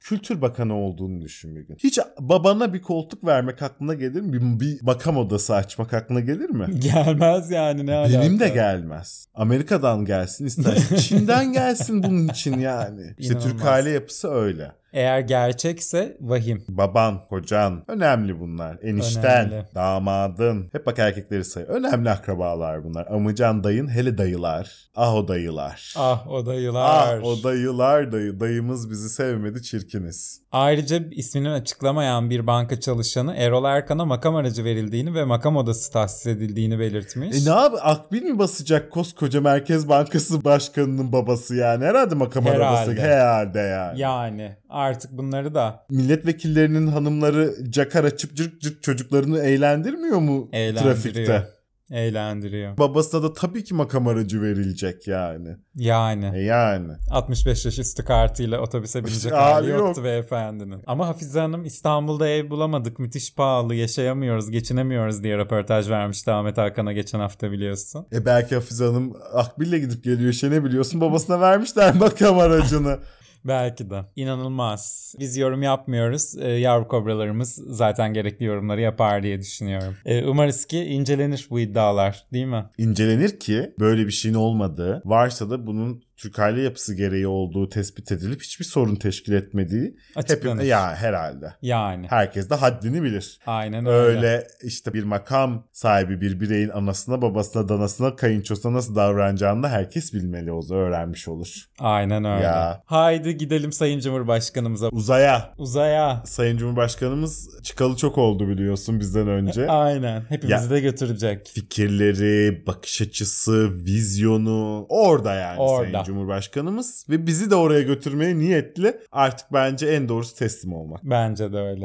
Kültür Bakanı olduğunu düşün bir gün. Hiç babana bir koltuk vermek aklına gelir mi? Bir, bir makam odası açmak aklına gelir mi?
Gelmez yani ne alaka.
Benim de gelmez. Amerika'dan gelsin istersen. Çin'den gelsin bunun için yani. İşte
İnanılmaz.
Türk aile yapısı öyle.
Eğer gerçekse vahim.
Baban, kocan önemli bunlar. Enişten,
Önemli.
damadın. Hep bak erkekleri say. Önemli akrabalar bunlar. Amcan, dayın, hele dayılar. Ah o dayılar.
Ah o da yıllar.
Ah o dayılar dayı. Dayımız bizi sevmedi çirkiniz.
Ayrıca ismini açıklamayan bir banka çalışanı Erol Erkan'a makam aracı verildiğini ve makam odası tahsis edildiğini belirtmiş.
E ne abi akbil mi basacak koskoca Merkez Bankası Başkanı'nın babası yani? Herhalde makam
Herhalde.
arabası. Herhalde yani.
yani artık bunları da
Milletvekillerinin hanımları cakar açıp cırk cırk çocuklarını eğlendirmiyor mu
eğlendiriyor.
trafikte?
Eğlendiriyor.
Babasına da tabii ki makam aracı verilecek yani.
Yani.
E yani.
65 yaş üstü kartıyla otobüse binecek
Abi
hali
yok.
yoktu beyefendinin. Ama Hafize Hanım İstanbul'da ev bulamadık müthiş pahalı yaşayamıyoruz geçinemiyoruz diye röportaj vermişti Ahmet Hakan'a geçen hafta biliyorsun.
E belki Hafize Hanım Akbil'le gidip geliyor şey ne biliyorsun babasına vermişler makam aracını.
Belki de. İnanılmaz. Biz yorum yapmıyoruz. Ee, yavru kobralarımız zaten gerekli yorumları yapar diye düşünüyorum. Ee, umarız ki incelenir bu iddialar değil mi?
incelenir ki böyle bir şeyin olmadığı, varsa da bunun Türk aile yapısı gereği olduğu tespit edilip hiçbir sorun teşkil etmediği hep
Açıklanır.
ya herhalde.
Yani.
Herkes de haddini bilir.
Aynen öyle.
Öyle işte bir makam sahibi bir bireyin anasına, babasına, danasına, kayınçosuna nasıl davranacağını da herkes bilmeli o zaman öğrenmiş olur.
Aynen öyle.
Ya.
Haydi gidelim Sayın Cumhurbaşkanımıza.
Uzaya.
Uzaya.
Sayın Cumhurbaşkanımız çıkalı çok oldu biliyorsun bizden önce.
Aynen. Hepimizi
Ya.
de götürecek.
fikirleri, bakış açısı, vizyonu orada yani
Orada.
Sayın Cumhurbaşkanımız ve bizi de oraya götürmeye niyetli. Artık bence en doğrusu teslim olmak.
Bence de öyle.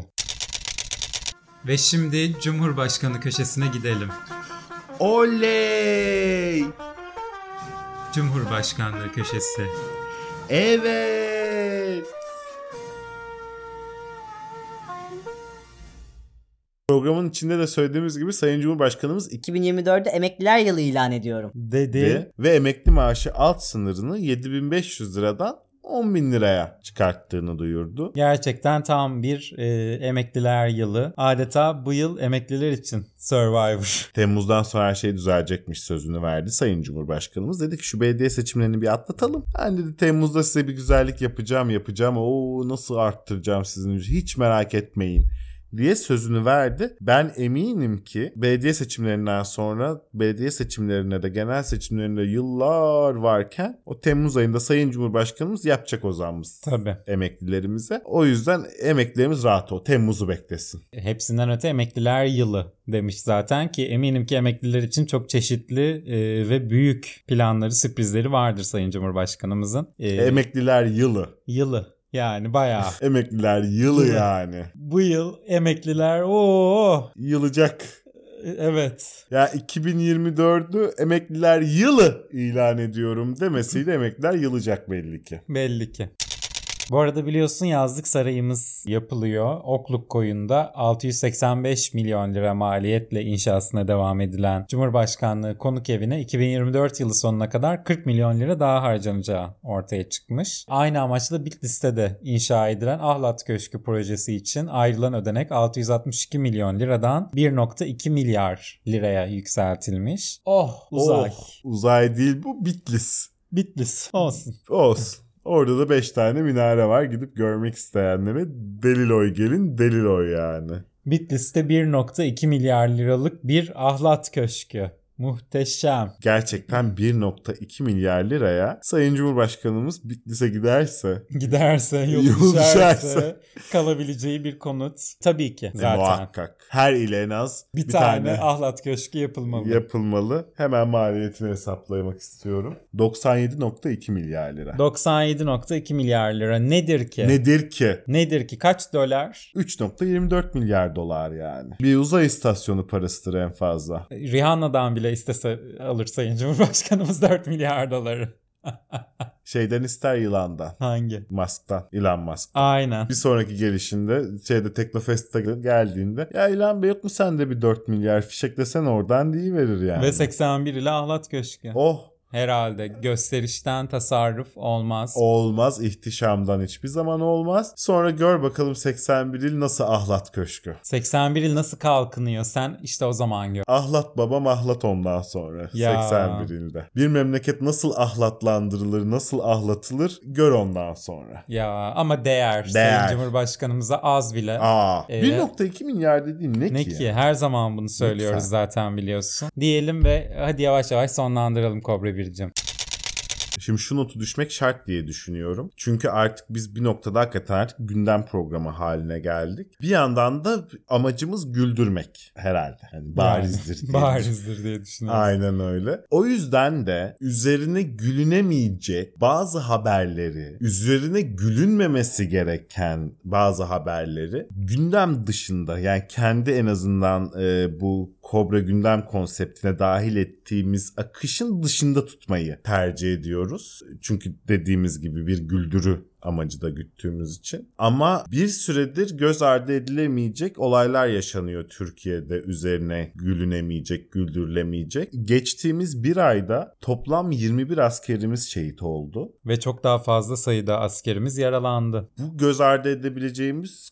Ve şimdi Cumhurbaşkanı köşesine gidelim.
Oley!
Cumhurbaşkanlığı köşesi.
Evet!
Programın içinde de söylediğimiz gibi Sayın Cumhurbaşkanımız 2
2024'de emekliler yılı ilan ediyorum.
Dedi.
ve emekli maaşı alt sınırını 7500 liradan 10 bin liraya çıkarttığını duyurdu.
Gerçekten tam bir e, emekliler yılı. Adeta bu yıl emekliler için Survivor.
Temmuz'dan sonra her şey düzelecekmiş sözünü verdi Sayın Cumhurbaşkanımız. Dedi ki şu belediye seçimlerini bir atlatalım. Ben dedi Temmuz'da size bir güzellik yapacağım yapacağım. Oo nasıl arttıracağım sizin ücreti? hiç merak etmeyin diye sözünü verdi. Ben eminim ki belediye seçimlerinden sonra belediye seçimlerine de genel seçimlerine de yıllar varken o Temmuz ayında Sayın Cumhurbaşkanımız yapacak o zammız
Tabii.
emeklilerimize. O yüzden emeklilerimiz rahat o. Temmuz'u beklesin.
E, Hepsinden öte emekliler yılı demiş zaten ki eminim ki emekliler için çok çeşitli e, ve büyük planları, sürprizleri vardır Sayın Cumhurbaşkanımızın. E,
Emekliler yılı.
yılı. Yani bayağı.
Emekliler yılı
Yılı.
yani.
bu yıl emekliler oh, ooo.
Yılacak.
E, Evet.
Ya 2024'ü emekliler yılı ilan ediyorum demesiyle emekliler yılacak belli ki.
Belli ki. Bu arada biliyorsun yazlık sarayımız yapılıyor. Okluk koyunda 685 milyon lira maliyetle inşasına devam edilen Cumhurbaşkanlığı konuk evine 2024 yılı sonuna kadar 40 milyon lira daha harcanacağı ortaya çıkmış. Aynı amaçla Bitlis'te de inşa edilen Ahlat Köşkü projesi için ayrılan ödenek 662 milyon liradan 1.2 milyar liraya yükseltilmiş. Oh uzay.
Oh, uzay değil bu Bitlis.
Bitlis olsun.
Olsun. Orada da 5 tane minare var. Gidip görmek isteyenlere Deliloy gelin Deliloy yani.
Bitlis'te 1.2 milyar liralık bir ahlat köşkü. Muhteşem.
Gerçekten 1.2 milyar liraya Sayın Cumhurbaşkanımız Bitlis'e giderse
Giderse, yol
Yol düşerse.
düşerse kalabileceği bir konut. Tabii ki
e,
zaten.
muhakkak her ile en az
bir, tane, ahlat köşkü yapılmalı.
yapılmalı. Hemen maliyetini hesaplamak istiyorum. 97.2 milyar lira.
97.2 milyar lira nedir ki?
Nedir ki?
Nedir ki? Kaç dolar?
3.24 milyar dolar yani. Bir uzay istasyonu parasıdır en fazla.
Rihanna'dan bile istese alır Sayın Cumhurbaşkanımız 4 milyar doları.
Şeyden ister yılandan.
Hangi?
Musk'tan. Elon Musk.
Aynen.
Bir sonraki gelişinde şeyde Teknofest'e geldiğinde ya Elon Bey yok mu sende bir 4 milyar fişeklesene oradan verir yani.
Ve 81 ile ahlat köşkü.
Oh
Herhalde gösterişten tasarruf olmaz.
olmaz ihtişamdan hiçbir zaman olmaz. Sonra gör bakalım 81 il nasıl ahlat köşkü.
81 yıl nasıl kalkınıyor sen işte o zaman gör.
Ahlat babam ahlat ondan sonra
Ya.
81 ilde. Bir memleket nasıl ahlatlandırılır, nasıl ahlatılır gör ondan sonra.
Ya ama değer,
Değer.
Sayın Cumhurbaşkanımıza az bile.
Aa,
Ee,
1.2 milyar dediğin ne,
ne
ki?
ki her zaman bunu söylüyoruz
Lütfen.
zaten biliyorsun. Diyelim ve hadi yavaş yavaş sonlandıralım Kobra Bircim.
Şimdi şu notu düşmek şart diye düşünüyorum. Çünkü artık biz bir noktada hakikaten artık gündem programı haline geldik. Bir yandan da amacımız güldürmek herhalde. Yani barizdir. diye
Barizdir diye düşünüyorum.
Aynen öyle. O yüzden de üzerine gülünemeyecek bazı haberleri, üzerine gülünmemesi gereken bazı haberleri gündem dışında yani kendi en azından e, bu Kobra gündem konseptine dahil ettiğimiz akışın dışında tutmayı tercih ediyoruz. Çünkü dediğimiz gibi bir güldürü amacı da güttüğümüz için. Ama bir süredir göz ardı edilemeyecek olaylar yaşanıyor Türkiye'de üzerine gülünemeyecek, güldürülemeyecek. Geçtiğimiz bir ayda toplam 21 askerimiz şehit oldu.
Ve çok daha fazla sayıda askerimiz yaralandı.
Bu göz ardı edebileceğimiz,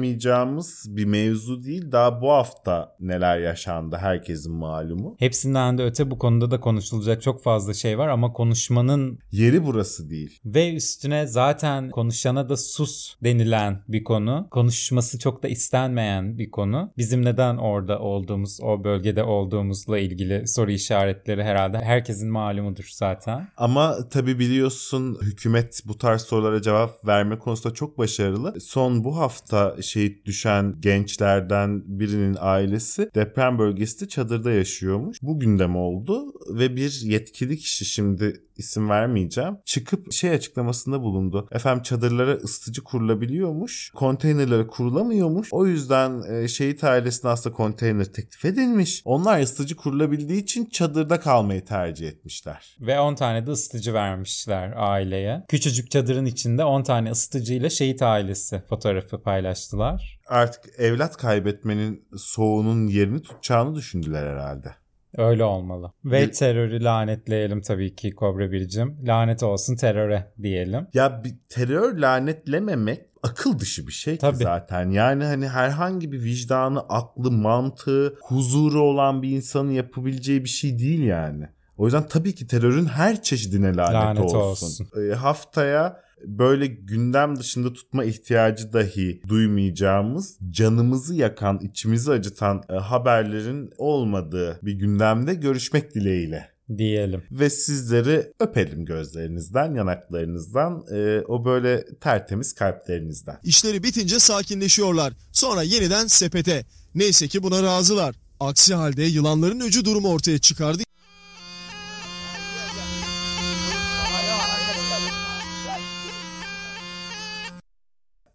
konuşamayacağımız bir mevzu değil. Daha bu hafta neler yaşandı herkesin malumu.
Hepsinden de öte bu konuda da konuşulacak çok fazla şey var ama konuşmanın
Yeri burası değil.
Ve üstüne zaten konuşana da sus denilen bir konu. Konuşması çok da istenmeyen bir konu. Bizim neden orada olduğumuz, o bölgede olduğumuzla ilgili soru işaretleri herhalde herkesin malumudur zaten.
Ama tabii biliyorsun hükümet bu tarz sorulara cevap verme konusunda çok başarılı. Son bu hafta şehit düşen gençlerden birinin ailesi deprem bölgesinde çadırda yaşıyormuş. Bu gündem oldu ve bir yetkili kişi şimdi isim vermeyeceğim. Çıkıp şey açıklamasında bulundu. Efendim çadırlara ısıtıcı kurulabiliyormuş. Konteynerlere kurulamıyormuş. O yüzden e, şehit ailesine aslında konteyner teklif edilmiş. Onlar ısıtıcı kurulabildiği için çadırda kalmayı tercih etmişler.
Ve 10 tane de ısıtıcı vermişler aileye. Küçücük çadırın içinde 10 tane ısıtıcıyla şehit ailesi fotoğrafı paylaştılar.
artık evlat kaybetmenin soğunun yerini tutacağını düşündüler herhalde.
Öyle olmalı. Ve terörü lanetleyelim tabii ki Kobra Biricim. Lanet olsun teröre diyelim.
Ya bir terör lanetlememek akıl dışı bir şey ki
Tabii.
zaten. Yani hani herhangi bir vicdanı, aklı, mantığı, huzuru olan bir insanın yapabileceği bir şey değil yani. O yüzden tabii ki terörün her çeşidine lanet,
Lanet
olsun.
olsun.
Ee, haftaya böyle gündem dışında tutma ihtiyacı dahi duymayacağımız, canımızı yakan, içimizi acıtan e, haberlerin olmadığı bir gündemde görüşmek dileğiyle
Diyelim.
ve sizleri öpelim gözlerinizden, yanaklarınızdan, e, o böyle tertemiz kalplerinizden.
İşleri bitince sakinleşiyorlar. Sonra yeniden sepete. Neyse ki buna razılar. Aksi halde yılanların öcü durumu ortaya çıkardı.